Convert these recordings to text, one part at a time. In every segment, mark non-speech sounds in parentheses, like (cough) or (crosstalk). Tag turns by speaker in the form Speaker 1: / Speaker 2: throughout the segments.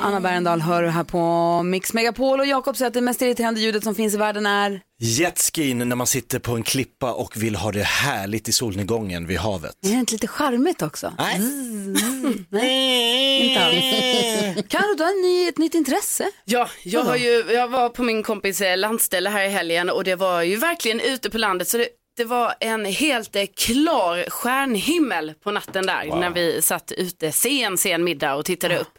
Speaker 1: Anna Bergendahl hör du här på Mix Megapol och Jakob säger att det mest irriterande ljudet som finns i världen är
Speaker 2: Jetskin när man sitter på en klippa och vill ha det härligt i solnedgången vid havet.
Speaker 1: Är det inte lite charmigt också?
Speaker 2: Nej.
Speaker 3: Mm.
Speaker 1: Inte alls. Karo, du har en ny, ett nytt intresse.
Speaker 3: Ja, jag, har ju, jag var på min kompis eh, landställe här i helgen och det var ju verkligen ute på landet så det, det var en helt eh, klar stjärnhimmel på natten där när vi satt ute sen, sen middag och tittade upp.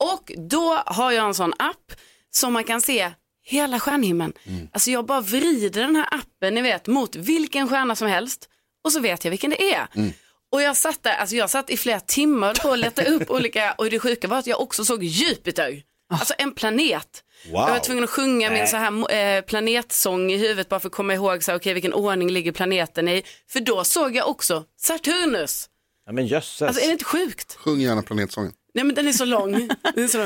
Speaker 3: Och då har jag en sån app som man kan se hela stjärnhimlen. Alltså jag bara vrider den här appen, ni vet, mot vilken stjärna som helst och så vet jag vilken det är. Och jag satt där, alltså jag satt i flera timmar på att leta upp olika, och det sjuka var att jag också såg Jupiter, alltså en planet.
Speaker 2: Wow.
Speaker 3: Jag var tvungen att sjunga min så här eh, planetsång i huvudet bara för att komma ihåg så här, okej, vilken ordning ligger planeten i. För då såg jag också Saturnus.
Speaker 2: Ja, men jösses.
Speaker 3: Alltså är det inte sjukt?
Speaker 4: Sjung gärna planetsången.
Speaker 3: Nej men den är så lång. (laughs) Den är så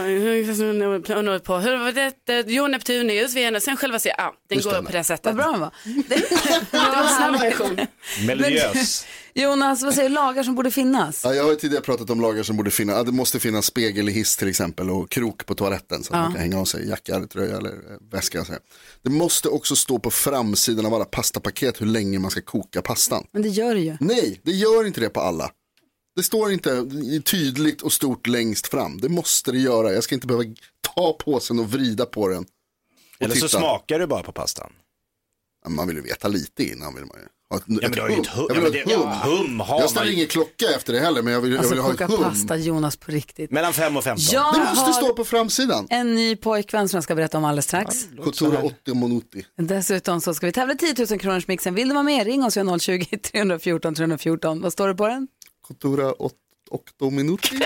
Speaker 3: lång. på. Hur var det? Jo, Neptunius, Venus, sen själva ser ja, den
Speaker 4: Just
Speaker 3: går
Speaker 4: den
Speaker 3: upp på det sättet.
Speaker 1: Vad bra den var.
Speaker 3: (laughs) Det var en snabb version.
Speaker 2: Melodiös.
Speaker 1: Jonas, vad säger du? Lagar som borde finnas?
Speaker 4: Ja, jag har ju tidigare pratat om lagar som borde finnas. Ja, Det måste finnas spegel i hiss till exempel och krok på toaletten så att man kan hänga av sig jacka, tröja eller eh, väska. Så här. Det måste också stå på framsidan av alla pastapaket hur länge man ska koka pastan.
Speaker 1: Men det gör du ju.
Speaker 4: Nej, det gör inte det på alla. Det står inte tydligt och stort längst fram. Det måste det göra. Jag ska inte behöva ta påsen och vrida på den. och
Speaker 2: (laughs) Eller så
Speaker 4: titta.
Speaker 2: smakar du bara på pastan.
Speaker 4: Ja, Man vill ju veta lite innan. Vill man ju. Ha ett,
Speaker 2: Ja, men
Speaker 4: ett
Speaker 2: du har ju ett hum.
Speaker 4: Jag
Speaker 2: Ja,
Speaker 4: vill
Speaker 2: men
Speaker 4: ha
Speaker 2: det,
Speaker 4: ett
Speaker 2: ja,
Speaker 4: hum.
Speaker 2: hum har
Speaker 4: Jag
Speaker 2: man
Speaker 4: ställer
Speaker 2: ju.
Speaker 4: ingen klocka efter det heller, men jag vill, jag
Speaker 1: Alltså
Speaker 4: vill ha ett
Speaker 1: koka
Speaker 4: hum.
Speaker 1: pasta, Jonas, på riktigt.
Speaker 2: Mellan 5 och 15.
Speaker 1: Jag
Speaker 4: Det måste
Speaker 1: har
Speaker 4: stå på framsidan.
Speaker 1: en ny pojkvän som jag ska berätta om alldeles strax.
Speaker 4: Kotura 80 Monuti.
Speaker 1: Dessutom så ska vi tävla i 10 000 kronors mixen. Vill du vara med? Ring oss vid 020 314 314. Vad står det på den?
Speaker 4: Kotura 8 Minuti.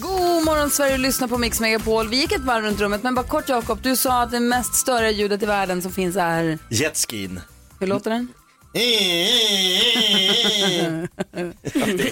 Speaker 1: God morgon Sverige, lyssna på Mix Megapol. Vi gick ett varv runt rummet, men bara kort Jakob, du sa att det mest störiga ljudet i världen som finns är,
Speaker 4: (laughs)
Speaker 2: Jetskin.
Speaker 1: hur låter den?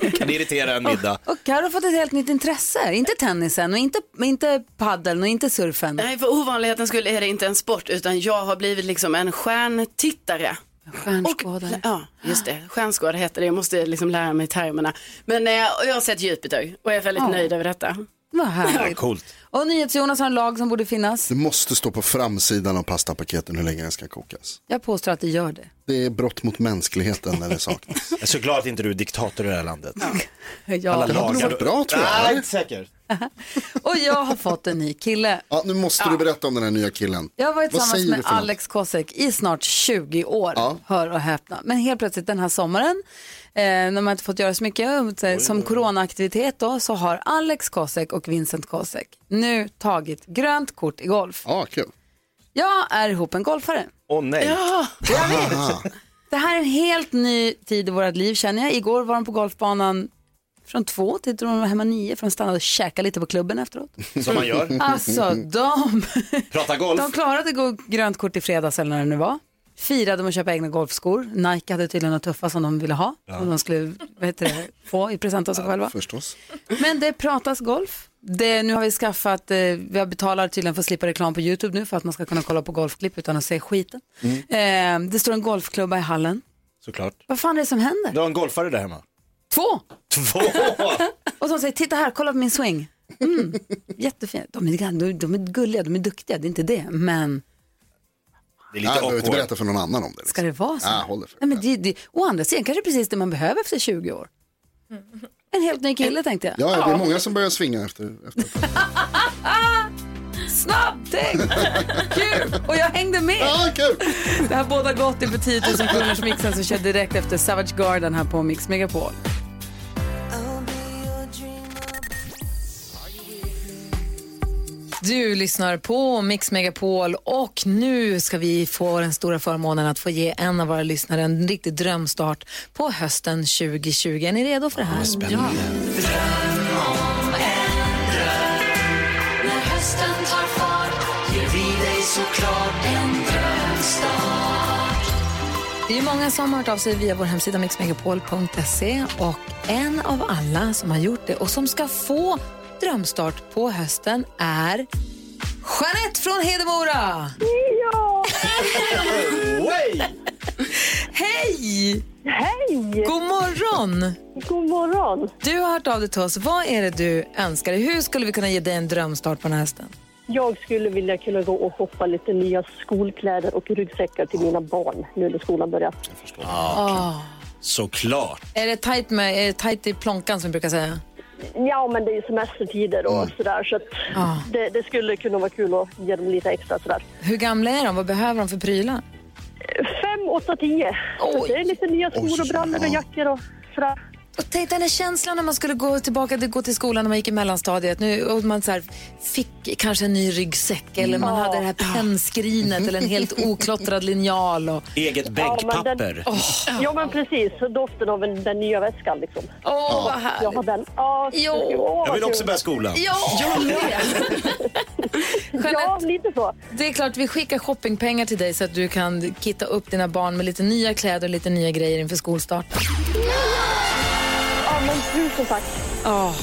Speaker 2: Det kan irritera en middag.
Speaker 1: Och Karo har fått ett helt nytt intresse, inte tennisen och inte, inte paddeln och inte surfen.
Speaker 3: Nej, för ovanligheten skulle är det inte en sport utan jag har blivit liksom en stjärntittare.
Speaker 1: Stjärnskådare.
Speaker 3: ja, just det. Stjärnskådare heter det. Jag måste liksom lära mig termerna. Men eh, jag har sett Jupiter och jag är väldigt nöjd över detta.
Speaker 1: Vad härligt.
Speaker 2: Coolt.
Speaker 1: Och NyhetsJonas har en lag som borde finnas.
Speaker 4: Det måste stå på framsidan av pastapaketen hur länge den ska kokas.
Speaker 1: Jag påstår att det gör det.
Speaker 4: Det är brott mot mänskligheten när det saknas.
Speaker 2: Jag är så glad att inte du är diktator i det här landet.
Speaker 1: Ja.
Speaker 4: Det hade nog varit bra tror
Speaker 2: Nej,
Speaker 4: jag.
Speaker 2: inte säkert.
Speaker 1: Och jag har fått en ny kille.
Speaker 4: (laughs) Ja, nu måste du berätta om den här nya killen.
Speaker 1: Jag har varit
Speaker 4: Vad
Speaker 1: tillsammans
Speaker 4: säger
Speaker 1: med
Speaker 4: du för något?
Speaker 1: Alex Kosek i snart 20 år, hör och häpna. Men helt plötsligt den här sommaren, eh, när man inte fått göra så mycket, så, här, som coronaaktivitet då, så har Alex Kosek och Vincent Kosek nu tagit grönt kort i golf.
Speaker 4: Ja, kul.
Speaker 1: Jag är ihop en golfare.
Speaker 2: Åh nej.
Speaker 1: Det här är en helt ny tid i vårt liv känner jag. Igår var de på golfbanan från två till de var hemma nio, för de stannade och käkade lite på klubben
Speaker 4: (laughs)
Speaker 1: efteråt.
Speaker 2: Som man gör.
Speaker 1: Alltså de
Speaker 2: Prata golf.
Speaker 1: De klarade gå grönt kort i fredags eller när det nu var. Firade med att köpa egna golfskor. Nike hade tydligen några tuffa som de ville ha. Som de skulle vad heter det, få i present av sig själva.
Speaker 4: Förstås.
Speaker 1: Men det pratas golf. Det, nu har vi skaffat, eh, vi har betalar tydligen för att slippa reklam på YouTube nu för att man ska kunna kolla på golfklipp utan att se skiten. Eh, det står en golfklubba i hallen.
Speaker 2: Såklart.
Speaker 1: Vad fan är det som händer?
Speaker 2: Du har en golfare där hemma.
Speaker 1: Två!
Speaker 2: Två!
Speaker 1: Och som säger, titta här, kolla på min swing. Mm, jättefint. De är, de, de är gulliga, de är duktiga, det är inte det. Men
Speaker 2: Det
Speaker 4: Nej,
Speaker 2: är lite
Speaker 4: jag behöver inte
Speaker 2: awkward.
Speaker 4: berätta för någon annan om det. liksom.
Speaker 1: Ska det vara så?
Speaker 4: Ja, håller för
Speaker 1: Nej, men det, det, å andra sidan kanske det är precis det man behöver efter 20 år. En helt ny kille tänkte jag.
Speaker 4: Ja, det är många som börjar svinga efter, efter ett tag.
Speaker 1: Snabbt
Speaker 4: (laughs)
Speaker 1: tänkt! Kul! Och jag hängde med.
Speaker 4: Ja, kul!
Speaker 1: Det här båda gott inför 10 000 kronors mixen som kör direkt efter Savage Garden här på Mix Megapol.
Speaker 5: Du lyssnar på Mix Megapol och nu ska vi få den stora förmånen att få ge en av våra lyssnare en riktig drömstart på hösten 2020. Är ni redo för det här? Ja. Det är många som har hört av sig via vår hemsida mixmegapol.se och en av alla som har gjort det och som ska få drömstart på hösten är Jeanette från Hedemora!
Speaker 6: Ja!
Speaker 5: Hej!
Speaker 6: Hej!
Speaker 5: God morgon!
Speaker 6: God morgon!
Speaker 5: Du har hört av dig till oss. Vad är det du önskar dig? Hur skulle vi kunna ge dig en drömstart på den här hösten?
Speaker 6: Jag skulle vilja kunna gå och shoppa lite nya skolkläder och ryggsäckar till mina barn nu när skolan börjar.
Speaker 5: Ah.
Speaker 2: Såklart.
Speaker 5: Är det tajt, med, är det tajt i plånkan som vi brukar säga?
Speaker 6: Ja, men det är ju semestertider och sådär så att
Speaker 5: Ja.
Speaker 6: det, det skulle kunna vara kul att ge dem lite extra sådär.
Speaker 5: Hur gamla är de? Vad behöver de för prylar?
Speaker 6: Fem, åtta, tio. Så
Speaker 5: Oj.
Speaker 6: det är lite nya skor och brallor och jackor och sådär.
Speaker 5: Och tänk den här känslan när man skulle gå tillbaka till, gå till skolan när man gick i mellanstadiet. Nu, och man så här, fick kanske en ny ryggsäck eller man
Speaker 6: Ja.
Speaker 5: hade det här pennskrinet eller en helt oklottrad linjal. Och,
Speaker 2: Eget bänkpapper.
Speaker 6: Ja, men, den, ja, men precis. Doften av en- den nya väskan liksom.
Speaker 5: Åh, vad härligt.
Speaker 6: Jag har den. Ja,
Speaker 5: Jo.
Speaker 6: åh, vad
Speaker 2: Jag vill
Speaker 6: kul.
Speaker 2: också börja skolan.
Speaker 5: Ja!
Speaker 6: Ja,
Speaker 5: (laughs) Jeanette,
Speaker 6: lite så.
Speaker 5: det är klart vi skickar shoppingpengar till dig så att du kan kitta upp dina barn med lite nya kläder och lite nya grejer inför skolstarten.
Speaker 6: Ja, men tusen tack.
Speaker 5: Oh.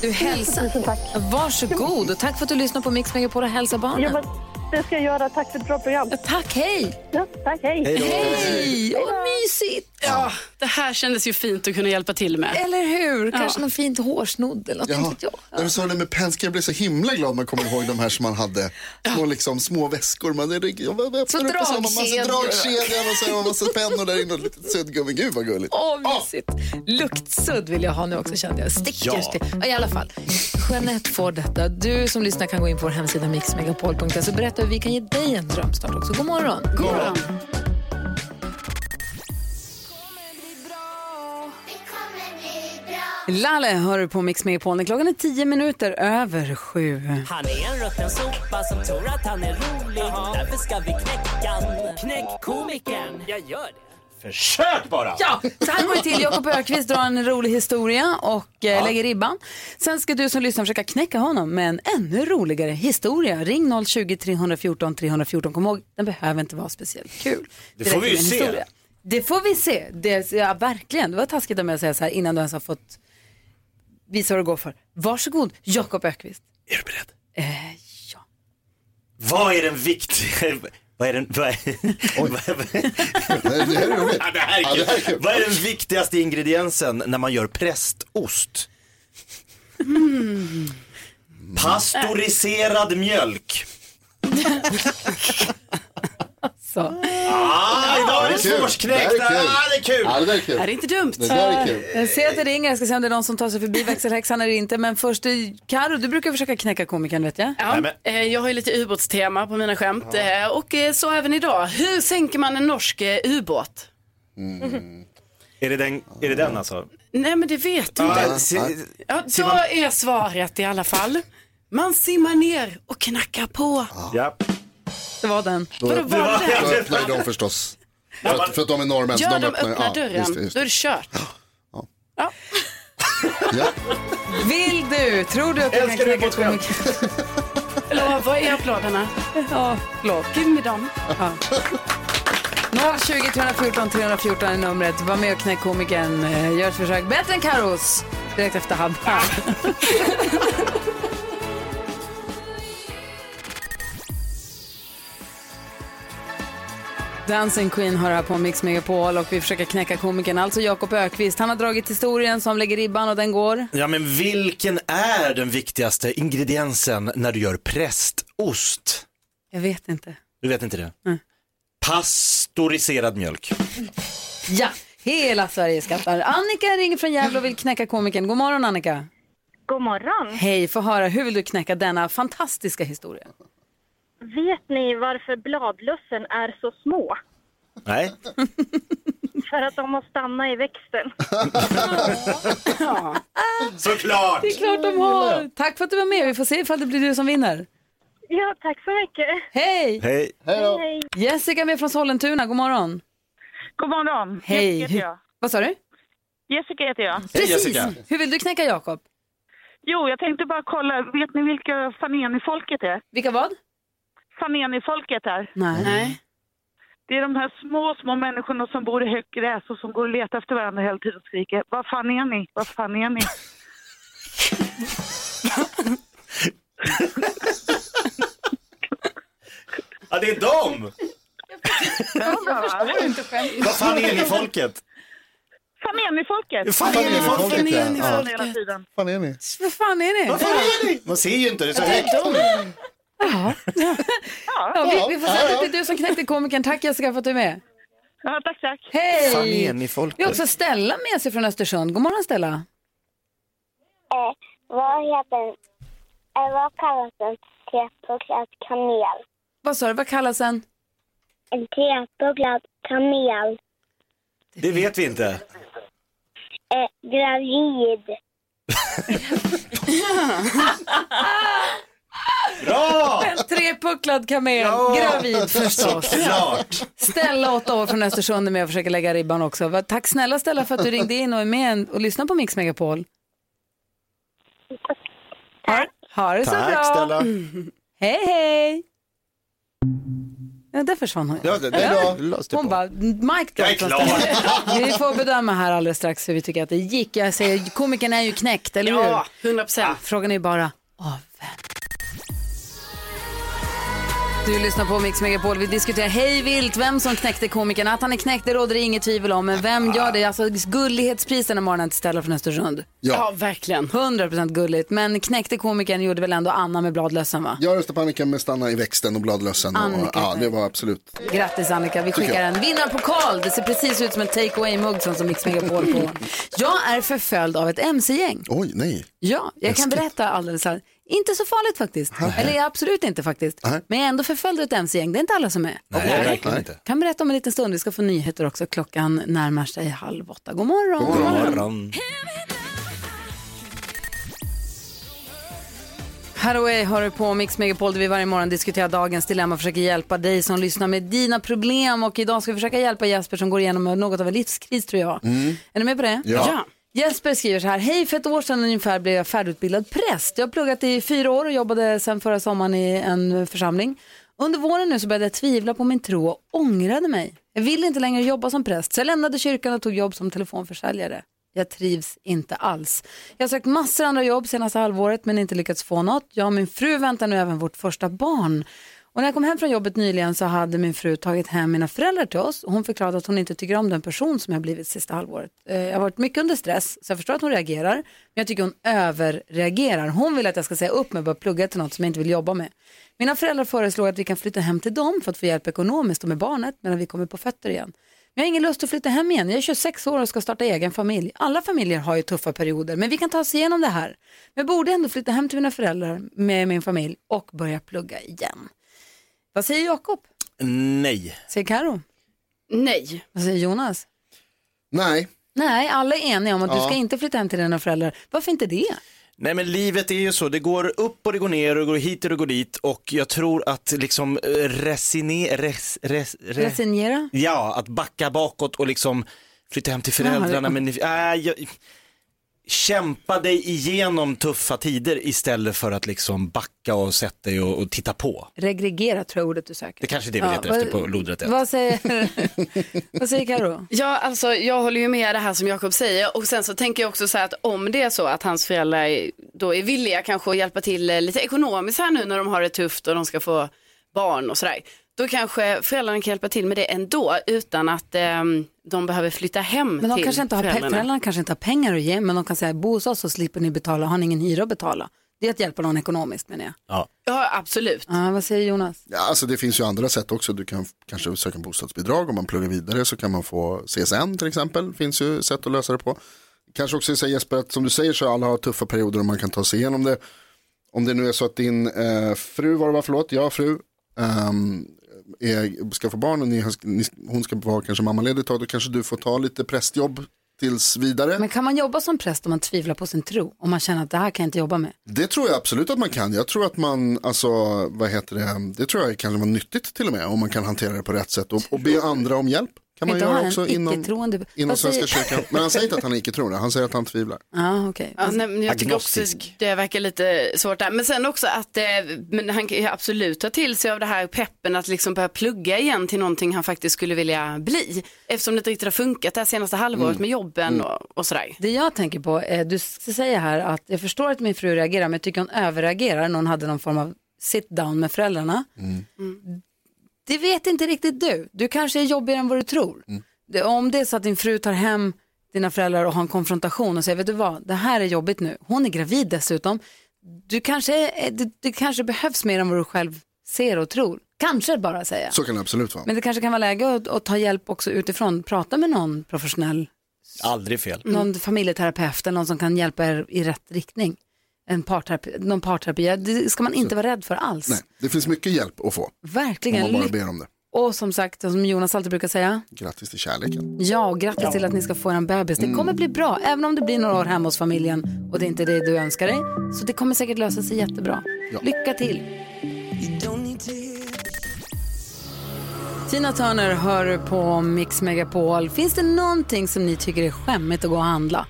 Speaker 5: Du hälsar.
Speaker 6: Tusen tack.
Speaker 5: Varsågod och tack för att du lyssnar på Mix Megapol och hälsa
Speaker 6: Ja,
Speaker 5: barnen.
Speaker 6: men det ska jag göra. Tack för ett bra program.
Speaker 5: Tack, hej!
Speaker 6: Ja, tack, hej.
Speaker 2: Hej då.
Speaker 5: Hej! Och mysigt!
Speaker 3: Ja, det här kändes ju fint att kunna hjälpa till med.
Speaker 5: Eller hur? Kanske någon fint hårsnodd eller något. inte
Speaker 4: Jaha.
Speaker 5: vet jag.
Speaker 4: När du sa det med penskar, jag blev så himla glad man kommer ihåg de här som man hade. Små, liksom, små väskor. Man
Speaker 5: Så
Speaker 4: öppnar upp och så har man massa
Speaker 5: dragkedjor.
Speaker 4: dragkedjan och så har man massa pennor där inne och lite suddgummi. Gud vad gulligt.
Speaker 5: Åh, mysigt. Luktsudd vill jag ha nu också kände jag. Stickers
Speaker 2: Ja.
Speaker 5: till. Ja, I alla fall, Jeanette får detta. Du som lyssnar kan gå in på vår hemsida mixmegapol.se och berätta hur vi kan ge dig en drömstart också. God morgon. God morgon.
Speaker 1: Lalle hör du på Mix Megapolen. Klockan är tio minuter över sju.
Speaker 7: Han är en rutten sopa som tror att han är rolig. Därför ska vi knäcka han. Knäck komikern. Jag gör det.
Speaker 2: Försök bara!
Speaker 1: Ja, så här går det till. Jakob Ökvist drar en rolig historia och eh, lägger ribban. Sen ska du som lyssnar försöka knäcka honom med en ännu roligare historia. Ring 020-314 314. Kom ihåg, den behöver inte vara speciellt kul.
Speaker 2: Det får vi ju
Speaker 1: räcker med en
Speaker 2: se.
Speaker 1: Det får vi se. Det, ja, verkligen. Det var taskigt av mig att säga så här innan du ens har fått visa vad du går för. Varsågod, Jakob Ökvist.
Speaker 2: Är du beredd?
Speaker 1: Eh, ja.
Speaker 2: Vad är den viktiga... (laughs) Vad är den... Vad
Speaker 4: (laughs)
Speaker 2: är...
Speaker 4: Det här är roligt.
Speaker 2: (laughs) Ja, det här är
Speaker 4: Ja, det här är
Speaker 2: kul.
Speaker 4: kul.
Speaker 2: Vad är den viktigaste ingrediensen när man gör prästost? Pastoriserad mjölk.
Speaker 1: Så.
Speaker 2: Ah, idag är det
Speaker 4: Det är kul.
Speaker 2: svårsknäckt.
Speaker 4: Det här är kul.
Speaker 2: Ah, det är
Speaker 4: Ja, det
Speaker 2: kul.
Speaker 4: där är
Speaker 3: Är det
Speaker 4: kul.
Speaker 3: inte dumt?
Speaker 4: Det där är kul.
Speaker 1: Jag ser att det ringer. Jag ska se om det är någon som tar sig förbi växelhäxan eller inte. Men först, eh, Karo, du brukar försöka knäcka komikern vet jag.
Speaker 3: Ja, eh, jag har ju lite ubåtstema på mina skämt eh, och eh, så även idag. Hur sänker man en norsk eh, ubåt?
Speaker 2: Är det den, är det den alltså?
Speaker 3: Nej men det vet du inte.
Speaker 2: Ah, se-
Speaker 3: Ja, då är svaret i alla fall. Man simmar ner och knackar på.
Speaker 2: ja.
Speaker 1: Det var den.
Speaker 3: Vadå,
Speaker 4: Då
Speaker 3: var
Speaker 2: (laughs)
Speaker 3: det?
Speaker 4: då öppnar ju de förstås. För att, för att de är norrmän. så
Speaker 3: Gör de
Speaker 4: ju-
Speaker 3: öppna dörren,
Speaker 4: Ja, just det, just
Speaker 3: då är det
Speaker 4: det.
Speaker 3: kört. Ja.
Speaker 4: Ja.
Speaker 1: Vill du? Tror du att du
Speaker 2: Älskar
Speaker 1: kan
Speaker 2: du
Speaker 1: knäcka
Speaker 2: vårt skämt?
Speaker 1: komikern?
Speaker 3: Lova i applåderna.
Speaker 1: Ja, förlåt.
Speaker 3: Give me dem.
Speaker 1: 020 314 314 är numret. Var med och knäck komikern. Eh, Gör ett försök. Bättre än Karos. Direkt efter Habba. (laughs) Dancing Queen har här på Mix Megapol och vi försöker knäcka komikern, alltså Jakob Ökvist. Han har dragit historien som lägger ribban och den går.
Speaker 2: ja, men vilken är den viktigaste ingrediensen när du gör prästost?
Speaker 1: Jag vet inte.
Speaker 2: Du vet inte det? Pastoriserad mjölk.
Speaker 1: Ja, hela Sverige skrattar. Annika ringer från Gävle och vill knäcka komikern. God morgon Annika.
Speaker 8: God morgon.
Speaker 1: Hej, få höra. Hur vill du knäcka denna fantastiska historia?
Speaker 8: Vet ni varför bladlössen är så små?
Speaker 2: Nej.
Speaker 8: För att de har stannat i växten.
Speaker 2: Såklart!
Speaker 1: Det är klart de har. Tack för att du var med. Vi får se ifall det blir du som vinner.
Speaker 8: Ja, tack så mycket.
Speaker 1: Hej!
Speaker 2: Hej.
Speaker 4: Hej då.
Speaker 8: Hej.
Speaker 1: Jessica är med från Sollentuna. God morgon.
Speaker 8: God morgon.
Speaker 1: Hej.
Speaker 8: Jessica heter jag.
Speaker 1: Vad sa du?
Speaker 8: Jessica heter jag.
Speaker 2: Hej Jessica.
Speaker 1: Hur vill du knäcka Jakob?
Speaker 8: Jo, jag tänkte bara kolla. Vet ni vilka Fanenifolket är?
Speaker 1: Vilka vad?
Speaker 2: Mm.
Speaker 8: Fanenifolket är.
Speaker 1: Nej.
Speaker 3: Nej.
Speaker 9: Det är de här små, små människorna som bor i högt gräs och som går och letar efter varandra hela tiden och skriker Vad fan är ni? Vad fan är ni?
Speaker 2: Ja, det är dem!
Speaker 9: Jag förstår inte skämtet.
Speaker 2: Vad fan är ni folket?
Speaker 9: Fan är ni folket?
Speaker 2: Fan är ni folket? ja.
Speaker 9: Hela tiden.
Speaker 4: fan är ni?
Speaker 1: Vad fan är
Speaker 2: Vad
Speaker 1: det?
Speaker 2: fan är ni? Man ser ju inte, det är så högt.
Speaker 1: Ja, vi, vi får säga att det är du som knäckte komikern. Tack Jessica för att du är med.
Speaker 9: Ja, tack, tack.
Speaker 2: Fan
Speaker 1: Hej!
Speaker 2: är ni
Speaker 1: Vi har
Speaker 2: folket?
Speaker 1: också Stella med sig från Östersund. God morgon Stella.
Speaker 10: Eh, vad heter eh, vad kallas en tepugglad kamel?
Speaker 1: Vad sa du, vad kallas den?
Speaker 10: En tepugglad kamel.
Speaker 2: Det vet vi inte.
Speaker 10: Eh, gravid.
Speaker 2: Bra!
Speaker 1: En trepucklad kamel, gravid förstås.
Speaker 2: Klart!
Speaker 1: Stella, åtta år från Östersund, är med och försöker lägga ribban också. Va- Tack snälla Stella för att du ringde in och är med och lyssnar på Mix Megapol. Ha, ha det så bra.
Speaker 2: Tack Stella.
Speaker 1: Hej, hej. Ja, där försvann hon.
Speaker 4: Ja, det, det är bra.
Speaker 1: Hon bara, mic
Speaker 2: Jag är
Speaker 1: drop. (laughs)
Speaker 2: klar.
Speaker 1: Vi får bedöma här alldeles strax hur vi tycker att det gick. Jag säger, komikern är ju knäckt, eller hur?
Speaker 3: Ja, 100 procent.
Speaker 1: Frågan är bara av vem. Du lyssnar på Mix Megapol. Vi diskuterar hej vilt vem som knäckte komikern. Att han är knäckt det råder det inget tvivel om. Men vem gör det? Alltså gullighetsprisen den här morgonen till Stella från Östersund.
Speaker 3: Ja,
Speaker 4: Ja.
Speaker 3: verkligen.
Speaker 1: 100% gulligt. Men knäckte komikern gjorde väl ändå Anna med bladlössan va?
Speaker 4: Jag röstar på Annika med stanna i växten och bladlössen. Och,
Speaker 1: Annika.
Speaker 4: ja, det var absolut.
Speaker 1: Grattis Annika, vi skickar en vinnarpokal. Det ser precis ut som en take away-mugg som som Mix Megapol får. Jag är förföljd av ett mc-gäng.
Speaker 4: Oj, nej.
Speaker 1: Ja, jag kan
Speaker 4: Läskigt.
Speaker 1: berätta alldeles så här. Inte så farligt faktiskt. Eller absolut inte faktiskt.
Speaker 4: Nej.
Speaker 1: Men jag är ändå förföljd av ett mc-gäng. Det är inte alla som är.
Speaker 2: Nej, verkligen inte.
Speaker 1: Kan berätta om en liten stund. Vi ska få nyheter också. Klockan närmar sig halv åtta. God morgon.
Speaker 4: God morgon.
Speaker 2: Morgon.
Speaker 1: Haraway hör du på Mix Megapol där vi varje morgon diskuterar dagens dilemma och försöker hjälpa dig som lyssnar med dina problem. Och idag ska vi försöka hjälpa Jesper som går igenom något av en livskris tror jag. Är ni med på det?
Speaker 4: Mm. Ja.
Speaker 1: Jesper skriver så här, hej för ett år sedan ungefär blev jag färdigutbildad präst. Jag har pluggat i fyra år och jobbade sedan förra sommaren i en församling. Under våren nu så började jag tvivla på min tro och ångrade mig. Jag ville inte längre jobba som präst så jag lämnade kyrkan och tog jobb som telefonförsäljare. Jag trivs inte alls. Jag har sökt massor andra jobb senaste halvåret men inte lyckats få något. Jag och min fru väntar nu även vårt första barn. Och när jag kom hem från jobbet nyligen så hade min fru tagit hem mina föräldrar till oss och hon förklarade att hon inte tycker om den person som jag blivit sista halvåret. Eh, Jag har varit mycket under stress så jag förstår att hon reagerar men jag tycker hon överreagerar. Hon vill att jag ska säga upp mig och börja plugga till något som jag inte vill jobba med. Mina föräldrar föreslår att vi kan flytta hem till dem för att få hjälp ekonomiskt och med barnet medan vi kommer på fötter igen. Men jag har ingen lust att flytta hem igen. Jag är 26 år och ska starta egen familj. Alla familjer har ju tuffa perioder, men vi kan ta oss igenom det här. Men jag borde ändå flytta hem till mina föräldrar med min familj och börja plugga igen. Vad säger Jakob?
Speaker 2: Nej.
Speaker 1: Säger Karo?
Speaker 3: Nej.
Speaker 1: Vad säger Jonas?
Speaker 4: Nej,
Speaker 1: Nej, alla är eniga om att du
Speaker 4: Ja.
Speaker 1: ska inte flytta hem till dina föräldrar. Varför inte det?
Speaker 2: Nej men livet är ju så, det går upp och det går ner och det går hit och det går dit och jag tror att liksom eh, resine, res, res, re,
Speaker 1: Resignera?
Speaker 2: ja, att backa bakåt och liksom flytta hem till föräldrarna men nej, jag, kämpa dig igenom tuffa tider istället för att liksom backa och sätta dig och, och titta på.
Speaker 1: Regregera tror jag ordet du söker.
Speaker 2: Det kanske är det vi letar
Speaker 1: vad-
Speaker 2: efter på lodrätt ett.
Speaker 1: Vad säger, (laughs) vad säger Karo?
Speaker 3: Ja, alltså jag håller ju med det här som Jakob säger och sen så tänker jag också så här att om det är så att hans föräldrar då är villiga kanske att hjälpa till eh, lite ekonomiskt här nu när de har det tufft och de ska få barn och sådär. Då kanske föräldrarna kan hjälpa till med det ändå utan att ehm, de behöver flytta hem
Speaker 1: Men de
Speaker 3: till
Speaker 1: kanske inte har, pe-
Speaker 3: föräldrarna.
Speaker 1: föräldrarna kanske inte har pengar att ge, men de kan säga bo hos oss så slipper ni betala, har ni ingen hyra att betala. Det är att hjälpa någon ekonomiskt menar jag.
Speaker 2: Ja.
Speaker 3: Ja, absolut.
Speaker 1: Ja, vad säger Jonas?
Speaker 4: Ja, alltså det finns ju andra sätt också. Du kan f- kanske söka bostadsbidrag. Om man pluggar vidare så kan man få CSN till exempel. finns ju sätt att lösa det på. Kanske också säga Jesper att som du säger så alla har tuffa perioder och man kan ta sig igenom det. Om det nu är så att din eh, fru, var det var, förlåt, jag fru, ehm, är, ska få barn och ni, har- ni, hon ska vara kanske mammaledig ett tag, då kanske du får ta lite prästjobb tills vidare.
Speaker 1: Men kan man jobba som präst om man tvivlar på sin tro? Om man känner att det här kan jag inte jobba med?
Speaker 4: Det tror jag absolut att man kan. Jag tror att man, alltså, vad heter det, det tror jag kan vara nyttigt till och med om man kan hantera det på rätt sätt och, och be andra om hjälp. kan man
Speaker 1: inte
Speaker 4: göra
Speaker 1: ha
Speaker 4: också
Speaker 1: en
Speaker 4: inom,
Speaker 1: icke-troende.
Speaker 4: inom
Speaker 1: Vad
Speaker 4: Svenska
Speaker 1: säger-
Speaker 4: kyrkan. Men han säger inte att han är icke-troende, han säger att han tvivlar.
Speaker 1: Ja, okej.
Speaker 3: Ja, nej, men jag tycker också det verkar lite svårt där. Men sen också att eh, men han kan ju absolut ta till sig av det här peppen att liksom börja plugga igen till någonting han faktiskt skulle vilja bli. Eftersom det inte riktigt har funkat det här senaste halvåret
Speaker 1: Mm.
Speaker 3: med jobben
Speaker 1: Mm.
Speaker 3: och, och sådär.
Speaker 1: Det jag tänker på är, du s- säger här att jag förstår att min fru reagerar men jag tycker hon överreagerar när hon hade någon form av sit down med föräldrarna. Det vet inte riktigt du. Du kanske är jobbigare än vad du tror. Det, om det är så att din fru tar hem dina föräldrar och har en konfrontation och säger, vet du vad, det här är jobbigt nu. Hon är gravid dessutom. Du kanske, är- det, det kanske behövs mer än vad du själv ser och tror. Kanske bara säga.
Speaker 4: Så kan det absolut vara.
Speaker 1: Men det kanske kan vara läge att, att ta hjälp också utifrån. Prata med någon professionell
Speaker 2: Aldrig fel.
Speaker 4: Mm.
Speaker 1: någon familjeterapeut eller någon som kan hjälpa er i rätt riktning. En parterapi, någon parterapi, Ja, det ska man inte vara rädd för alls.
Speaker 4: Nej, det finns mycket hjälp att få. Om
Speaker 1: Verkligen.
Speaker 4: man bara
Speaker 1: Lyck-
Speaker 4: ber om det.
Speaker 1: Och som sagt, som Jonas alltid brukar säga,
Speaker 4: Grattis till kärleken.
Speaker 1: ja, och grattis till att ni ska få en bebis.
Speaker 4: Mm.
Speaker 1: Det kommer bli bra, även om det blir några år hemma hos familjen och det är inte det du önskar dig. Så det kommer säkert lösa sig jättebra.
Speaker 4: Ja.
Speaker 1: Lycka till! Tina Turner hör på Mix Megapol. Finns det någonting som ni tycker är skämmigt att gå och handla?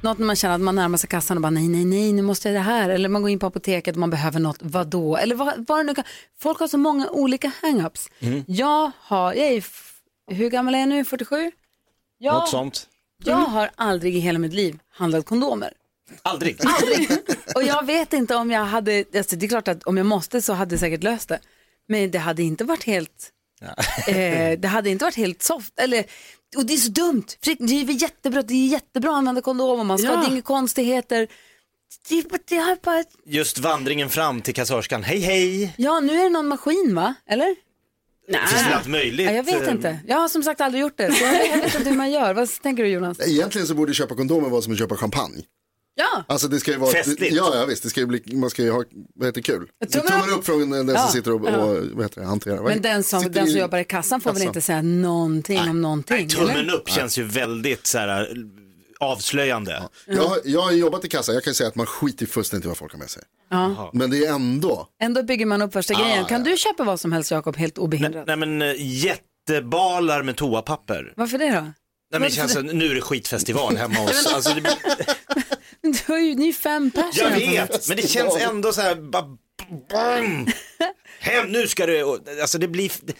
Speaker 1: Något när man känner att man närmar sig kassan och bara nej, nej, nej, nu måste jag det här. Eller man går in på apoteket och man behöver något, vadå? Eller vad, vad det nu kan. Folk har så många olika hang-ups. Jag har, jag är, f- hur gammal är jag nu, 47? Jag,
Speaker 2: Något sånt.
Speaker 1: jag har aldrig i hela mitt liv handlat kondomer.
Speaker 2: Aldrig.
Speaker 1: Ah. Och jag vet inte om jag hade, alltså det är klart att om jag måste så hade jag säkert löst det. Men det hade inte varit helt, eh, det hade inte varit helt soft. Eller, och det är så dumt, för det är väl jättebra, det är jättebra att använda kondom och man ska,
Speaker 5: Ja.
Speaker 1: det är inga konstigheter. Det, är bara- det har bara,
Speaker 2: Just vandringen fram till kassörskan, hej hej.
Speaker 1: ja, nu är det någon maskin va, eller?
Speaker 2: Det finns väl allt möjligt.
Speaker 1: Ja, jag vet
Speaker 2: eh,
Speaker 1: inte, jag har som sagt aldrig gjort det. Så jag, jag vet inte hur man gör, vad tänker du Jonas?
Speaker 4: Egentligen så borde köpa kondomer vara som att köpa champagne.
Speaker 1: Ja,
Speaker 4: Alltså det ska ju vara...
Speaker 2: Festligt.
Speaker 4: Ja, ja visst. Det ska ju bli, man ska ju ha, vad heter det, kul.
Speaker 1: Tummen
Speaker 4: Tummen upp från den som
Speaker 1: Ja.
Speaker 4: sitter och,
Speaker 1: Ja.
Speaker 4: och vad heter det, hanterar. Vad-
Speaker 1: men den som,
Speaker 4: sitter
Speaker 1: den som
Speaker 4: i-
Speaker 1: jobbar i kassan får väl
Speaker 4: kassan.
Speaker 1: inte säga någonting om någonting?
Speaker 2: Tummen
Speaker 1: eller?
Speaker 2: upp känns ju väldigt så här, eh, avslöjande.
Speaker 4: Jag, har- jag har jobbat i kassa, jag kan ju säga att man skiter fullständigt i vad folk har med sig.
Speaker 1: Ja.
Speaker 4: Men det är ändå,
Speaker 1: Ändå bygger man upp värsta
Speaker 4: Ah,
Speaker 1: grejen. Kan du köpa vad som helst Jakob helt obehindrat?
Speaker 2: Nej men eh, jättebalar med toapapper.
Speaker 1: Varför det då?
Speaker 2: Nej, men det känns som, nu är det skitfestival hemma hos oss. Alltså, det,
Speaker 1: Men Du har ju, ni är ju fem personer.
Speaker 2: jag vet, men det känns ändå så här, bara, bam, hem, nu ska du, och, alltså det blir, det,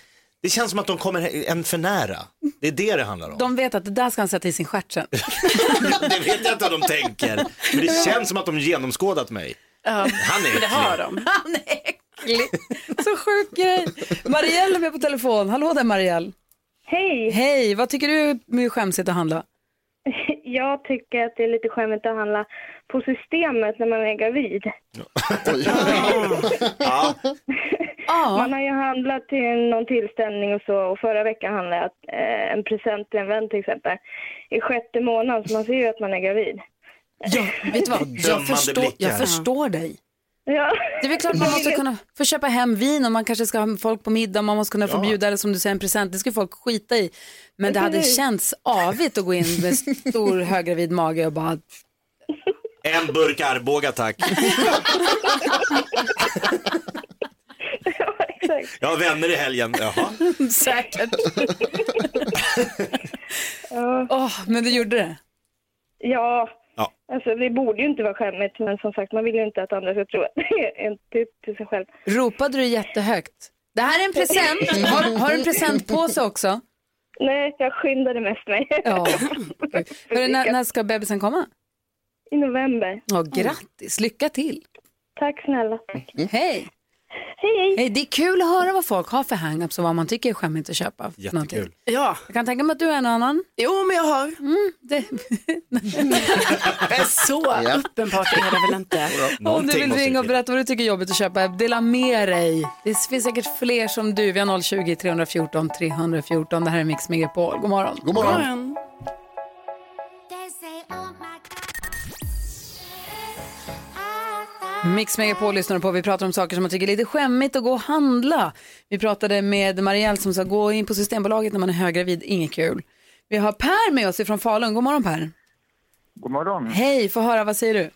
Speaker 2: det känns som att de kommer en för nära. Det är det det handlar om.
Speaker 1: De vet att det där ska han sätta i sin stjärt sen.
Speaker 2: Det vet jag inte vad de tänker, men det känns som att de genomskådat mig. Han är
Speaker 3: Men det har
Speaker 2: äcklig.
Speaker 3: de.
Speaker 1: Han är äcklig. Så sjuk grej. Marielle är med på telefon. Hallå där Marielle.
Speaker 11: Hej.
Speaker 1: Hej, vad tycker du är skämsigt att handla?
Speaker 11: Jag tycker att det är lite skämmigt att handla på systemet när man är gravid. Man har ju handlat till någon tillställning och så och förra veckan handlade jag eh, en present till en vän till exempel i sjätte månaden så man ser ju att man är gravid.
Speaker 1: Ja, vet du vad? Jag
Speaker 11: Dömande
Speaker 1: förstår,
Speaker 11: blickar.
Speaker 1: jag förstår dig.
Speaker 11: Ja.
Speaker 1: Det är väl klart man måste kunna få köpa hem vin och man kanske ska ha folk på middag och man måste kunna få bjuda eller som du säger en present. Det ska folk skita i. Men det hade
Speaker 11: Precis.
Speaker 1: känts avigt att gå in med stor höggravid mage och bara
Speaker 2: En burk Arboga tack. Jag har vänner i helgen, jaha.
Speaker 1: Säkert. Åh, men du gjorde det.
Speaker 11: Ja,
Speaker 2: Ja.
Speaker 11: alltså det borde ju inte vara skämmigt men som sagt man vill ju inte att andra ska tro att det är en typ till sig själv.
Speaker 1: Ropade du jättehögt? Det här är en present. Har, har du en presentpåse också?
Speaker 11: Nej, jag skyndade mest mig.
Speaker 1: Ja. Hörru, när, när ska bebisen komma?
Speaker 11: I november.
Speaker 1: Ja, grattis, lycka till.
Speaker 11: Tack snälla.
Speaker 1: Hej.
Speaker 11: Hej.
Speaker 1: Hej. Det är kul att höra vad folk har för hang-ups och vad man tycker är skämmigt att köpa. för någonting.
Speaker 3: Ja.
Speaker 1: Jag kan tänka mig att du är en annan.
Speaker 3: Jo, men jag har.
Speaker 1: Mm, det...
Speaker 3: Så uppenbart är det väl inte.
Speaker 1: Om du vill ringa och berätta vad du tycker är jobbigt att köpa, dela med dig. Det finns säkert fler som du. Vi har 020 314 314. Det här är Mix Megapol. God morgon.
Speaker 4: God morgon. God morgon.
Speaker 7: "Oh
Speaker 1: Mix Megapol lyssnar på. Vi pratar om saker som man tycker är lite skämmigt att gå och handla. Vi pratade med Marielle som sa gå in på Systembolaget när man är höggravid. Inget kul. Vi har Per med oss ifrån Falun. God morgon Per.
Speaker 12: God morgon.
Speaker 1: Hej, få höra. Vad säger du?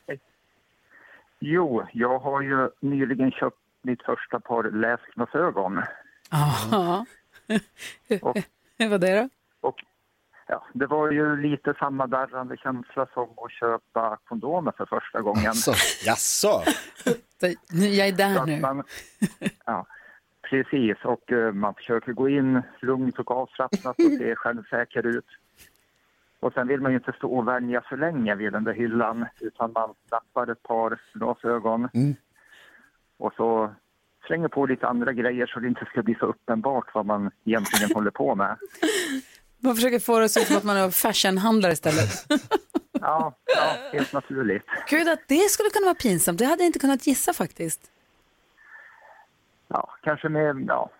Speaker 12: Jo, jag har ju nyligen köpt mitt första par läskglasögon.
Speaker 1: (laughs) Jaha. Hur var det då?
Speaker 12: Och ja, det var ju lite samma darrande känsla som att köpa kondomer för första gången.
Speaker 2: Alltså, jaså?
Speaker 1: Nu, jag är där nu.
Speaker 12: (laughs) Ja, precis, och eh, man försöker gå in lugnt och avslappnat och se självsäker ut. Och sen vill man ju inte stå och vänja för länge vid den där hyllan utan man slappar ett par glasögon och så slänger på lite andra grejer så det inte ska bli så uppenbart vad man egentligen håller på med.
Speaker 1: Man försöker få det att se ut som att man är fashionhandlare istället.
Speaker 12: Ja, ja helt naturligt.
Speaker 1: Gud, att det skulle kunna vara pinsamt, det hade jag inte kunnat gissa faktiskt.
Speaker 12: Ja, kanske med, ja,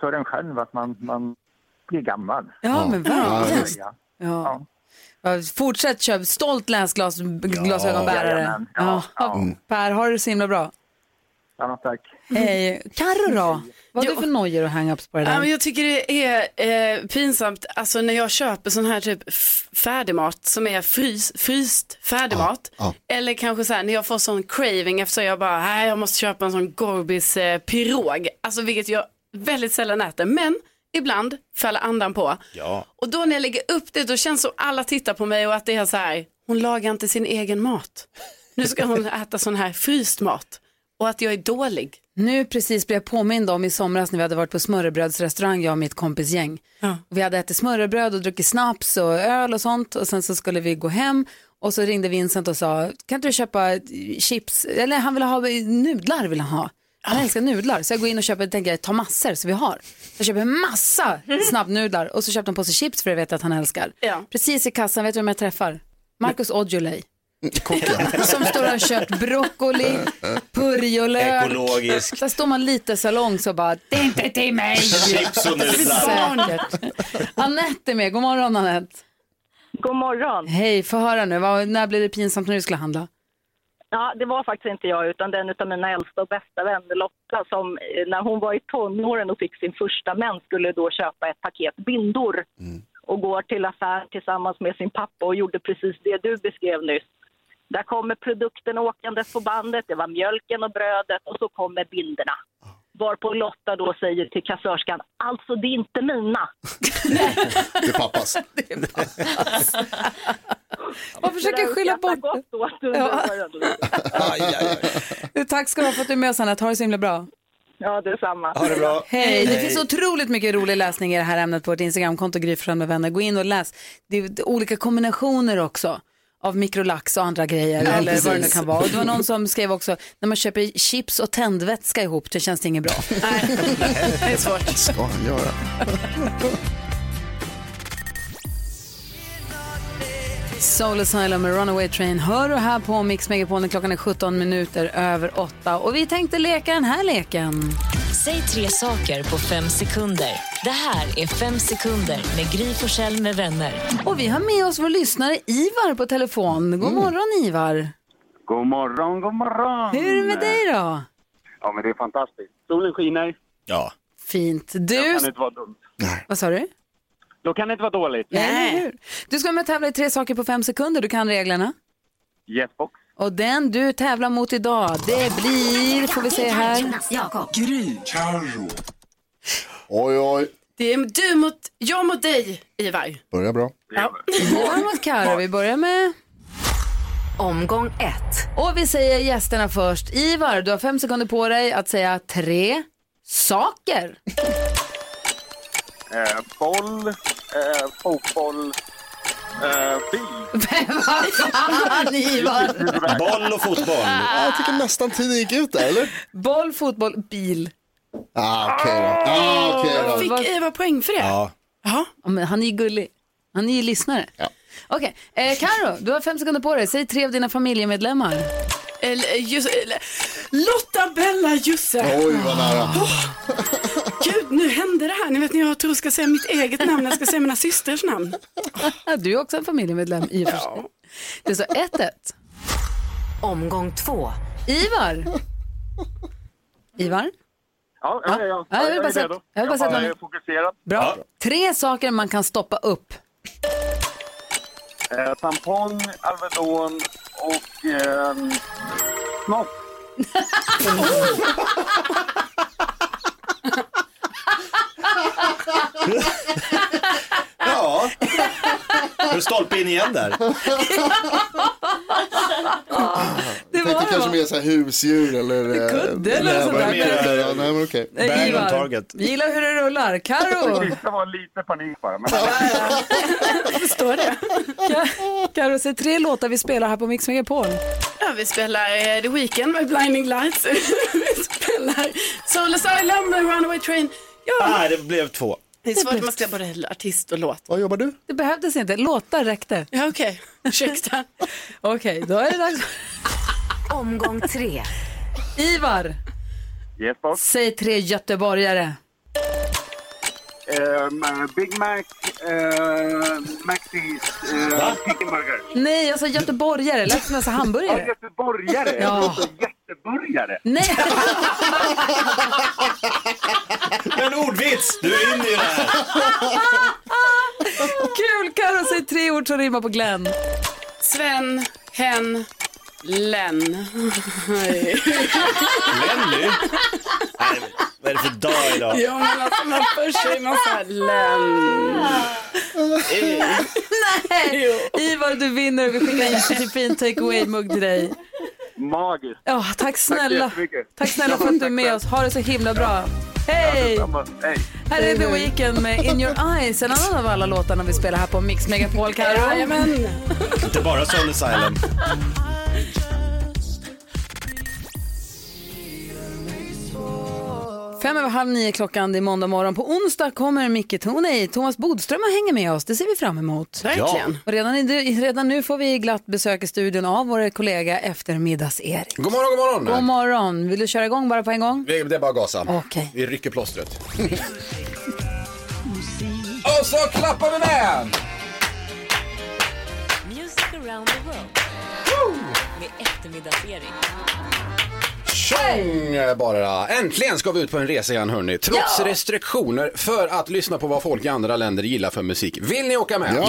Speaker 12: för en själv att man, man blir gammal.
Speaker 1: Ja, men verkligen.
Speaker 12: Ja.
Speaker 1: Ja. Ja, Fortsätt köp stolt läsglas, glasögonbärare.
Speaker 12: Jajamän.
Speaker 1: Ja. Per, har du det så himla bra.
Speaker 12: Ja, tack.
Speaker 1: Hej. Carro då? Mm. Vad har du för nojor och hang-ups på det
Speaker 3: Ja, men
Speaker 1: där?
Speaker 3: jag tycker det är eh, pinsamt, alltså när jag köper sån här typ f- färdigmat som är frys, fryst färdigmat. Eller kanske så här när jag får sån craving eftersom jag bara, här jag måste köpa en sån Gorbis eh, pirog. Alltså vilket jag väldigt sällan äter, men ibland faller andan på.
Speaker 7: Ja.
Speaker 3: Och då när jag lägger upp det då känns det som alla tittar på mig och att det är så här, hon lagar inte sin egen mat. Nu ska hon äta sån här fryst mat och att jag är dålig.
Speaker 1: Nu precis blev jag påmind om i somras när vi hade varit på smörrebrödsrestaurang, jag och mitt kompisgäng. Och Vi hade ätit smörrebröd och druckit snaps och öl och sånt och sen så skulle vi gå hem och så ringde Vincent och sa, kan inte du köpa eh, chips, eller han ville ha nudlar vill han ha. Han älskar nudlar, så jag går in och köper, tänker jag, ta massor så vi har. Så jag köper massa snabbnudlar och så köpte han på sig chips för jag vet att han älskar. Precis i kassan, vet du vem jag träffar? Marcus Aujalay.
Speaker 4: Kocken.
Speaker 1: Som står och har köpt broccoli, purjolök.
Speaker 4: Ekologiskt.
Speaker 1: Där står man lite salong så bara, det är inte till mig.
Speaker 7: Chips
Speaker 1: (laughs)
Speaker 7: och nudlar.
Speaker 1: Säkert. Anette är med, god morgon Anette.
Speaker 13: God morgon.
Speaker 1: Hej, få höra nu, Vad- när blir det pinsamt när du skulle handla?
Speaker 13: Ja, det var faktiskt inte jag utan den av mina äldsta och bästa vänner Lotta som eh, när hon var i tonåren och fick sin första mens skulle då köpa ett paket bindor och går till affären tillsammans med sin pappa och gjorde precis det du beskrev nyss. Där kommer produkten åkandes på bandet, det var mjölken och brödet och så kommer bindorna. Varpå Lotta då säger till kassörskan, alltså det är inte mina.
Speaker 4: Det är pappas.
Speaker 1: Man försöker skylla bort
Speaker 13: det.
Speaker 1: Ja. Tack ska du ha för att du är med oss Anette, ha det så himla bra.
Speaker 13: Ja, detsamma.
Speaker 1: Ha det bra. Hej, det
Speaker 13: Hej.
Speaker 1: finns otroligt mycket rolig läsning i det här ämnet på vårt Instagramkonto, Gry Forssell med vänner. Gå in och läs. Det är det är olika kombinationer också av mikrolax och andra grejer
Speaker 5: Ja,
Speaker 1: eller vad det nu
Speaker 5: precis.
Speaker 1: kan vara. Och det var någon som skrev också, när man köper chips och tändvätska ihop, det känns det inget bra.
Speaker 3: Det är svårt.
Speaker 4: ska han göra?
Speaker 1: Soul Asylum med Runaway Train hör du här på Mix Megapol när klockan är 17 minuter över 8. Och vi tänkte leka den här leken.
Speaker 14: Säg tre saker på fem sekunder. Det här är Fem sekunder med Gry Forssell med vänner.
Speaker 1: Och vi har med oss vår lyssnare Ivar på telefon. God morgon Ivar.
Speaker 15: God morgon, god morgon!
Speaker 1: Hur
Speaker 12: Mm.
Speaker 1: är det med dig då?
Speaker 15: Ja, men det är fantastiskt. Solen skiner.
Speaker 2: Ja.
Speaker 1: Fint.
Speaker 15: Då
Speaker 1: Du,
Speaker 15: kan det inte vara dumt.
Speaker 1: vad sa du?
Speaker 15: Då kan det inte vara dåligt.
Speaker 1: Nej. Hur? Du ska vara med och tävla i tre saker på fem sekunder. Du kan reglerna.
Speaker 15: Yes, box.
Speaker 1: Och den du tävlar mot idag, det blir, får vi se här.
Speaker 3: Jakob.
Speaker 4: Gry. Carro. Oj, oj.
Speaker 3: Det är du mot, jag mot dig Ivar.
Speaker 4: Börjar bra.
Speaker 3: Ja.
Speaker 1: Ivar mot Karo. Vi börjar med... Omgång ett. Och vi säger gästerna först. Ivar, du har fem sekunder på dig att säga tre saker.
Speaker 15: Eh, boll, eh, fotboll, eh, bil.
Speaker 1: Vad fan, Ivar?
Speaker 4: Boll och fotboll. Ja, jag tycker nästan tiden gick ut där, eller?
Speaker 1: Boll, fotboll, bil.
Speaker 4: Ah, okej då. Ah, okej då.
Speaker 3: Fick Ivar poäng för det?
Speaker 1: Ja. Men han är ju gullig. Han är ju lyssnare. Ja. Okej, eh, Karo, du har fem sekunder på dig. Säg tre av dina familjemedlemmar.
Speaker 3: Eller, just, eller, Lotta, Bella, Jussi.
Speaker 4: Oj, vad nära.
Speaker 3: Åh, Gud, nu hände det här. Ni vet när jag tror jag ska säga mitt eget namn, jag ska säga mina systers namn.
Speaker 1: Du är också en familjemedlem i och för sig. Det står 1-1. Omgång två. Ivar. Ivar,
Speaker 15: Ja, ja, ja, ja.
Speaker 1: Ja, jag vill bara
Speaker 15: är
Speaker 1: säga-
Speaker 15: redo.
Speaker 1: jag vill bara säga att man-
Speaker 15: är fokuserad.
Speaker 1: bra. Tre saker man kan stoppa upp.
Speaker 15: Eh, tampong, Alvedon och eh, snopp.
Speaker 7: Ja.
Speaker 2: Har du stolpe in igen där?
Speaker 4: Jag tänkte kanske mer så här husdjur eller... eh,
Speaker 1: Kudde eller något sånt där.
Speaker 4: nävar. Kudde, ja, Nej men okej.
Speaker 1: Nej, Eh, Ivar. Vi gillar hur det rullar.
Speaker 4: (laughs)
Speaker 1: Karo
Speaker 15: Det var lite panik bara. Men...
Speaker 1: Står det? Karo säg tre låtar vi spelar här på Mix Megapol.
Speaker 3: Ja, vi spelar eh, The Weeknd med Blinding Lights. (laughs) vi spelar Soul Asylum med Runaway Train. Ja,
Speaker 2: Nej, det blev två.
Speaker 3: det är svårt att man ska både artist och låt.
Speaker 4: Vad jobbar du?
Speaker 1: Det behövdes inte. Låtar räckte.
Speaker 3: Ja, okej. Ursäkta.
Speaker 1: Okej, då är det dags.
Speaker 14: Omgång tre.
Speaker 1: Ivar,
Speaker 15: Yes, boss.
Speaker 1: säg tre göteborgare.
Speaker 15: Ehm, Big Mac, uh, McDee's, uh, Chicken Burger.
Speaker 1: Nej, jag sa göteborgare. Lät som jag sa
Speaker 15: Ja,
Speaker 1: hamburgare.
Speaker 15: göteborgare.
Speaker 1: Ja.
Speaker 15: Göteborgare.
Speaker 1: Nej, (laughs)
Speaker 2: En ordvits, du är inne i det här.
Speaker 1: kul! Karo säg tre ord som rimmar på Glenn.
Speaker 3: Sven, hen, len.
Speaker 2: Lenny? Nej, vad är det för dag idag?
Speaker 3: ja, men alltså man för sig man såhär len.
Speaker 1: Nej! Ivar, du vinner och vi skickar en jättefin takeaway-mugg till dig.
Speaker 15: Magiskt.
Speaker 1: Ja, tack snälla. Tack,
Speaker 15: jättemycket.
Speaker 1: snälla för att du är med oss. Ha det så himla bra. Alltså, Hej!
Speaker 15: Detsamma. Hej.
Speaker 1: Här är The Weeknd med In Your Eyes, en annan av alla låtarna vi spelar här på Mix Megapol, Karo.
Speaker 3: Jajamän.
Speaker 2: Inte bara Soul Asylum.
Speaker 1: Fem över halv nio klockan, det är måndag morgon. På onsdag kommer Micke Tornvey, Thomas Bodström och hänger med oss. Det ser vi fram emot.
Speaker 3: Verkligen.
Speaker 1: Och redan, i, redan nu får vi glatt besök i studion av vår kollega eftermiddags-Erik.
Speaker 16: God morgon, god morgon.
Speaker 1: God morgon. Vill du köra igång bara på en gång?
Speaker 16: Vi- Det är bara att gasa.
Speaker 1: Okej.
Speaker 16: Vi rycker
Speaker 2: (laughs)
Speaker 16: plåstret. Och så klappar vi med!
Speaker 14: Music around the world. Med eftermiddagsserie.
Speaker 16: Tjong eh, bara! Äntligen ska vi ut på en resa igen hörni. Trots restriktioner för att lyssna på vad folk i andra länder gillar för musik. Vill ni åka med?
Speaker 4: Ja!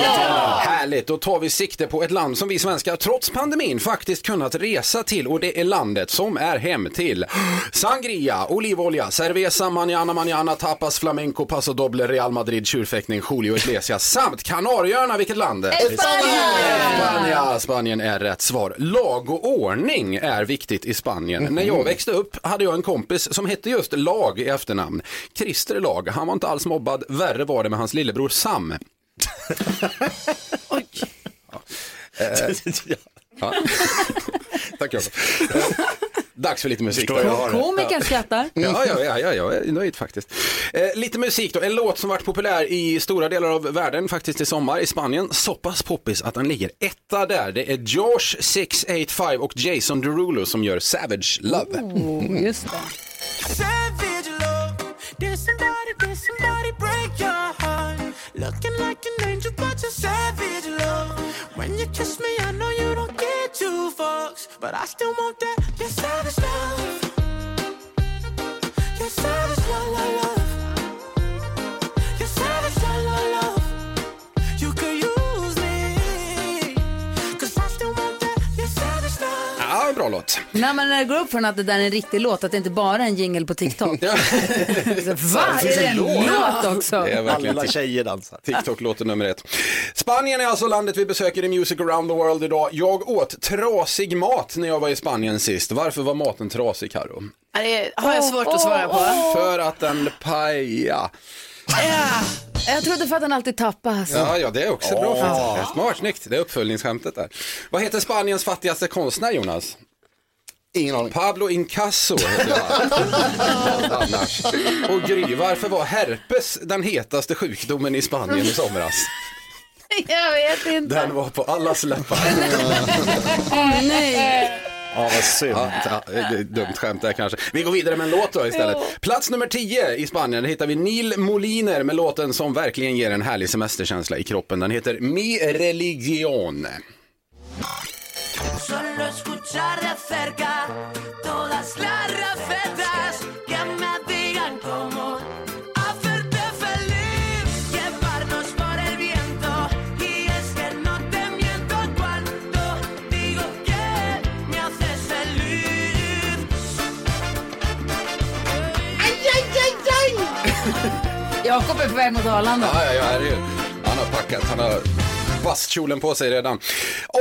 Speaker 16: Härligt, då tar vi sikte på ett land som vi svenskar trots pandemin faktiskt kunnat resa till och det är landet som är hem till Sangria, olivolja, cerveza, manana, manana, tapas, flamenco, paso doble, Real Madrid, tjurfäktning, Julio Iglesias samt Kanarieöarna, vilket land? Spanien! Spanien är rätt svar. Lag och ordning är viktigt i Spanien.
Speaker 2: Mhm.
Speaker 16: När jag växte upp hade jag en kompis som hette just Lag i efternamn. Christer Lag, han var inte alls mobbad, värre var det med hans lillebror Sam. Ja. Tack
Speaker 2: (laughs)
Speaker 16: Jakob. Eh, Dags för lite musik.
Speaker 2: Förstår jag har det.
Speaker 1: Komikern skrattar.
Speaker 16: Ja, ja, ja, ja, jag är nöjd faktiskt. Eh, lite musik då, en låt som varit populär i stora delar av världen faktiskt i sommar i Spanien. Så pass poppis att den ligger etta där. Det är Josh 685 och Jason Derulo som gör Savage Love.
Speaker 1: Oh, just det.
Speaker 7: Savage love. Did somebody, did somebody break your heart? Looking like an angel, but you're savage love. When you kiss me, I know you don't get two fucks, but I still want that. You're savage love. You're savage love, love, love. You're savage love, love, love. You could use me, 'cause I still want that. You're savage love.
Speaker 16: Ja, bra låt.
Speaker 1: När man när det går upp från att det där är en riktig låt, att det inte bara är en jingle på (laughs) TikTok.
Speaker 16: Ja,
Speaker 1: Va? Är det en låt också?
Speaker 16: det är verkligen
Speaker 2: Alla tjejer dansar.
Speaker 16: TikTok-låten nummer ett. Spanien är alltså landet vi besöker i Music around the world idag. Jag åt trasig mat när jag var i Spanien sist. Varför var maten trasig, Karo?
Speaker 3: Ja, Det har jag svårt att svara på.
Speaker 16: För att den paja.
Speaker 1: Jag trodde för att den alltid alltså. tappas.
Speaker 16: Ja, ja, det är också bra. faktiskt. Smart, snyggt. Det är uppföljningsskämtet där. Vad heter Spaniens fattigaste konstnär, Jonas?
Speaker 4: Ingen aning.
Speaker 16: Pablo Incasso heter
Speaker 4: (laughs)
Speaker 16: han. Annars. Och Gry, varför var herpes den hetaste sjukdomen i Spanien i somras?
Speaker 1: Jag vet inte.
Speaker 16: Den var på allas
Speaker 1: (laughs)
Speaker 16: läppar.
Speaker 2: Ja, vad synd.
Speaker 16: Ja, ja, det är dumt skämt där kanske. Vi går vidare med en låt då istället. Plats nummer 10 i Spanien där hittar vi Neil Moliner med låten som verkligen ger en härlig semesterkänsla i kroppen. Den heter Mi Religion.
Speaker 7: Solo escuchar de cerca todas las recetas que me digan cómo hacerte feliz, llevarnos por el viento. Y es que no te miento cuando digo que me haces feliz.
Speaker 1: Jakob är på väg mot Arlanda.
Speaker 16: Ja, ja, ja, herregud. Han har packat. Han har vasskjolen på sig redan.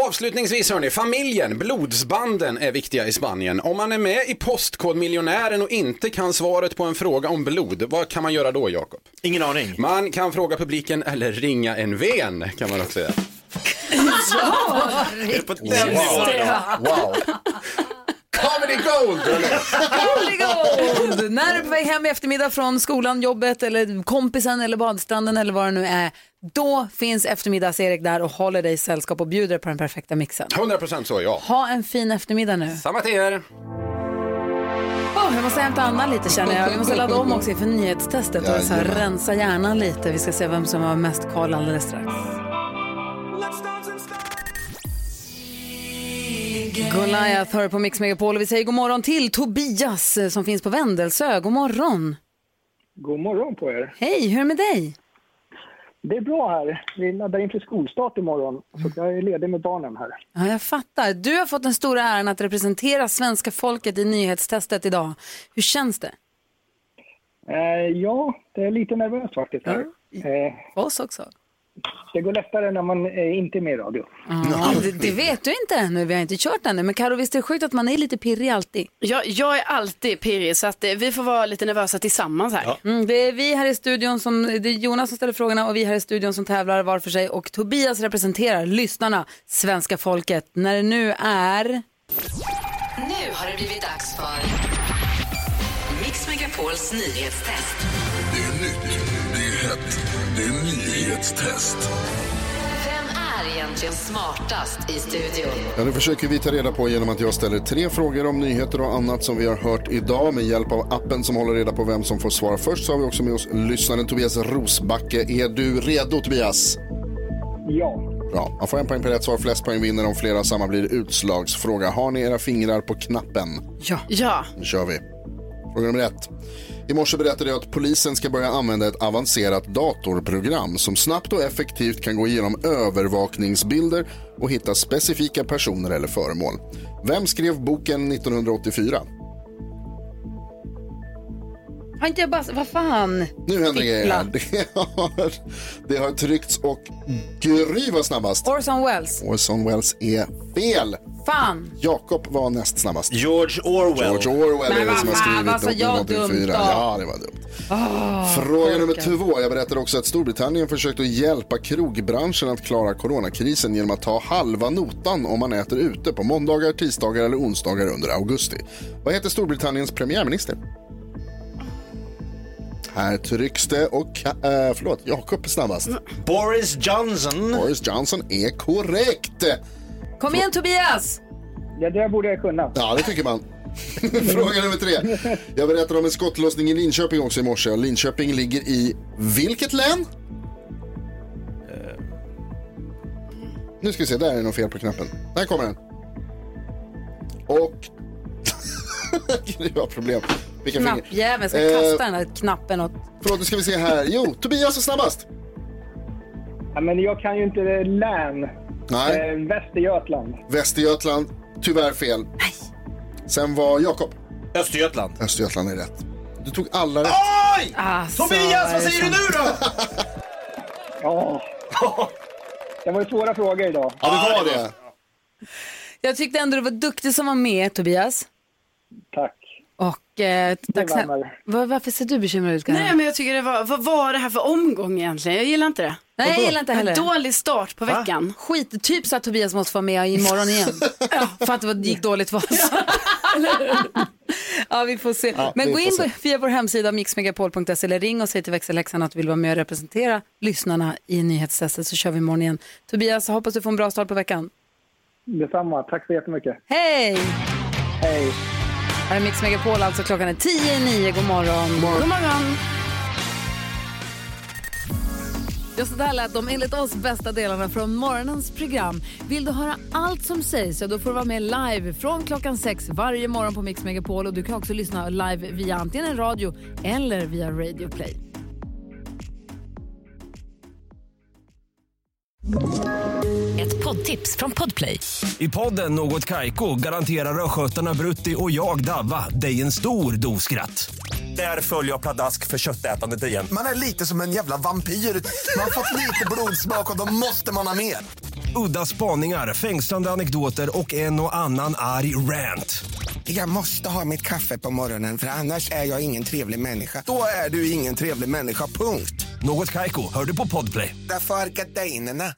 Speaker 16: Avslutningsvis hörni, familjen, blodsbanden är viktiga i Spanien. Om man är med i Postkodmiljonären och inte kan svaret på en fråga om blod, vad kan man göra då Jakob?
Speaker 2: Ingen aning.
Speaker 16: Man kan fråga publiken eller ringa en ven kan man också göra.
Speaker 7: Ja,
Speaker 16: Det är på den nivån idag. Wow. Comedy gold!
Speaker 1: Holy gold! När du är på väg hem i eftermiddag från skolan, jobbet eller kompisen eller badstranden eller vad det nu är. Då finns eftermiddags-Erik där och håller dig sällskap och bjuder på den perfekta mixen.
Speaker 16: 100% så ja.
Speaker 1: Ha en fin eftermiddag nu.
Speaker 16: Samma till er.
Speaker 1: Åh, jag måste hämta Anna lite känner jag. Vi måste ladda om också inför nyhetstestet och så här,
Speaker 7: Jajamän.
Speaker 1: rensa hjärnan lite. Vi ska se vem som har mest koll alldeles strax. Goliath hör på Mix Megapol och vi säger god morgon till Tobias eh, som finns på Vändelsö. God morgon!
Speaker 17: God morgon på er.
Speaker 1: Hej, hur är det med dig?
Speaker 17: Det är bra här. Vi laddar inför skolstart imorgon, så jag är ledig med barnen här.
Speaker 1: Ja, jag fattar. Du har fått den stora äran att representera svenska folket i nyhetstestet idag. Hur känns det?
Speaker 17: Eh, ja, det är lite nervöst faktiskt. Här. Eh,
Speaker 1: oss också.
Speaker 17: Det går lättare när man eh, inte är med i radio.
Speaker 1: Ja, det, det vet du inte ännu, vi har inte kört ännu. Men Karo, visst är det sjukt att man är lite pirrig alltid?
Speaker 3: Jag, jag är alltid pirrig så att eh, vi får vara lite nervösa tillsammans här.
Speaker 1: Mm, det är vi här i studion som, det är Jonas som ställer frågorna och vi här i studion som tävlar var för sig och Tobias representerar lyssnarna, svenska folket, när det nu är...
Speaker 14: Nu har det blivit dags för Mix Megapols nyhetstest.
Speaker 7: Det är nytt, det är hett, det är nyhetstest.
Speaker 14: Vem är egentligen smartast i studion?
Speaker 4: Ja, det försöker vi ta reda på genom att jag ställer tre frågor om nyheter och annat som vi har hört idag. Med hjälp av appen som håller reda på vem som får svara först så har vi också med oss lyssnaren Tobias Rosbacke. Är du redo Tobias?
Speaker 17: Ja.
Speaker 4: Bra. Man får en poäng per rätt svar, flest poäng vinner. Om flera samma blir utslagsfråga. Har ni era fingrar på knappen?
Speaker 1: Ja.
Speaker 3: ja.
Speaker 4: Nu kör vi. Fråga nummer ett. I morse berättade jag att polisen ska börja använda ett avancerat datorprogram som snabbt och effektivt kan gå igenom övervakningsbilder och hitta specifika personer eller föremål. Vem skrev boken 1984?
Speaker 1: Har inte jag bara, vad fan?
Speaker 4: Nu händer grejer.
Speaker 1: Fippla.
Speaker 4: här. (laughs) Det har, det har tryckts och Gry var snabbast.
Speaker 1: Orson Welles.
Speaker 4: Orson Welles är fel.
Speaker 1: Fan!
Speaker 4: Jakob var näst snabbast.
Speaker 2: George Orwell.
Speaker 4: George Orwell är
Speaker 1: Men
Speaker 4: det som har
Speaker 1: vad fan,
Speaker 4: skrivit
Speaker 1: vad sa jag
Speaker 4: 1984.
Speaker 1: dumt då?
Speaker 4: Ja, det var dumt.
Speaker 1: Oh,
Speaker 4: Fråga nummer två. Jag berättade också att Storbritannien försökt att hjälpa krogbranschen att klara coronakrisen genom att ta halva notan om man äter ute på måndagar, tisdagar eller onsdagar under augusti. Vad heter Storbritanniens premiärminister? Här trycks det och ka- eh, förlåt, Jakob är snabbast.
Speaker 1: Mm.
Speaker 2: Boris Johnson.
Speaker 4: Boris Johnson är korrekt.
Speaker 1: Kom igen Tobias!
Speaker 17: Ja, det borde jag kunna.
Speaker 4: Ja, det tycker man. (laughs) Fråga nummer tre. Jag berättade om en skottlossning i Linköping också i morse. Linköping ligger i vilket län? Eh. Nu ska vi se, där är det något fel på knappen. Där kommer den. Och... (laughs) Gud, jag har problem. Vilka fingrar.
Speaker 1: Knappjäveln ska
Speaker 4: Eh,
Speaker 1: kasta den här knappen åt...
Speaker 4: Förlåt, nu ska vi se här. Jo, Tobias är snabbast.
Speaker 17: Ja, men jag kan ju inte eh, län.
Speaker 4: Nej.
Speaker 17: Eh, Västergötland.
Speaker 4: Västergötland, tyvärr fel. Sen var Jakob.
Speaker 2: Östergötland.
Speaker 4: Östergötland är rätt. Du tog alla rätt.
Speaker 2: Oj!
Speaker 1: Alltså,
Speaker 7: Tobias, vad säger du nu då?
Speaker 17: Ja. Det var ju svåra frågor idag.
Speaker 4: Ja, det var det.
Speaker 1: Jag tyckte ändå du var duktig som var med Tobias.
Speaker 17: Tack.
Speaker 1: Och eh, tack snälla.
Speaker 3: värmer.
Speaker 1: Var, varför ser du bekymrad ut Karin?
Speaker 3: Nej men jag tycker det var, vad var det här för omgång egentligen? Jag gillar inte det.
Speaker 1: Nej, jag gillar inte heller.
Speaker 3: En dålig start på veckan.
Speaker 1: Skit, typ så att Tobias måste vara med
Speaker 5: (laughs)
Speaker 1: imorgon igen. ja, för att det gick dåligt för oss. (laughs) ja, vi får se.
Speaker 5: Ja,
Speaker 1: Men
Speaker 5: vi
Speaker 1: gå
Speaker 5: får
Speaker 1: in
Speaker 5: se.
Speaker 1: på- via vår hemsida mixmegapol.se eller ring och säg till växelhäxan att du vill vara med och representera lyssnarna i nyhetstestet så kör vi imorgon igen. Tobias, hoppas du får en bra start på veckan.
Speaker 17: Detsamma. Tack så jättemycket.
Speaker 1: Hej!
Speaker 17: Hej.
Speaker 1: Här är Mix Megapol, alltså klockan är 10 i 9. God morgon. God
Speaker 3: morgon. God morgon.
Speaker 5: Ja, så där lät de enligt oss bästa delarna från morgonens program. Vill du höra allt som sägs så då får du vara med live från klockan sex varje morgon på Mix Megapol. Och du kan också lyssna live via antingen en radio eller via Radio Play.
Speaker 14: Ett poddtips från Podplay.
Speaker 18: I podden Något Kaiko garanterar östgötarna Brutti och jag, Davva, dig en stor dos skratt.
Speaker 2: Där följer jag pladask för köttätandet igen.
Speaker 7: Man är lite som en jävla vampyr. Man har fått lite blodsmak och då måste man ha mer.
Speaker 2: Udda spaningar, fängslande anekdoter och en och annan arg rant.
Speaker 7: Jag måste ha mitt kaffe på morgonen för annars är jag ingen trevlig människa. Då är du ingen trevlig människa, punkt.
Speaker 2: Något kajko, hör du på podplay.
Speaker 7: Därför arkadeinerna.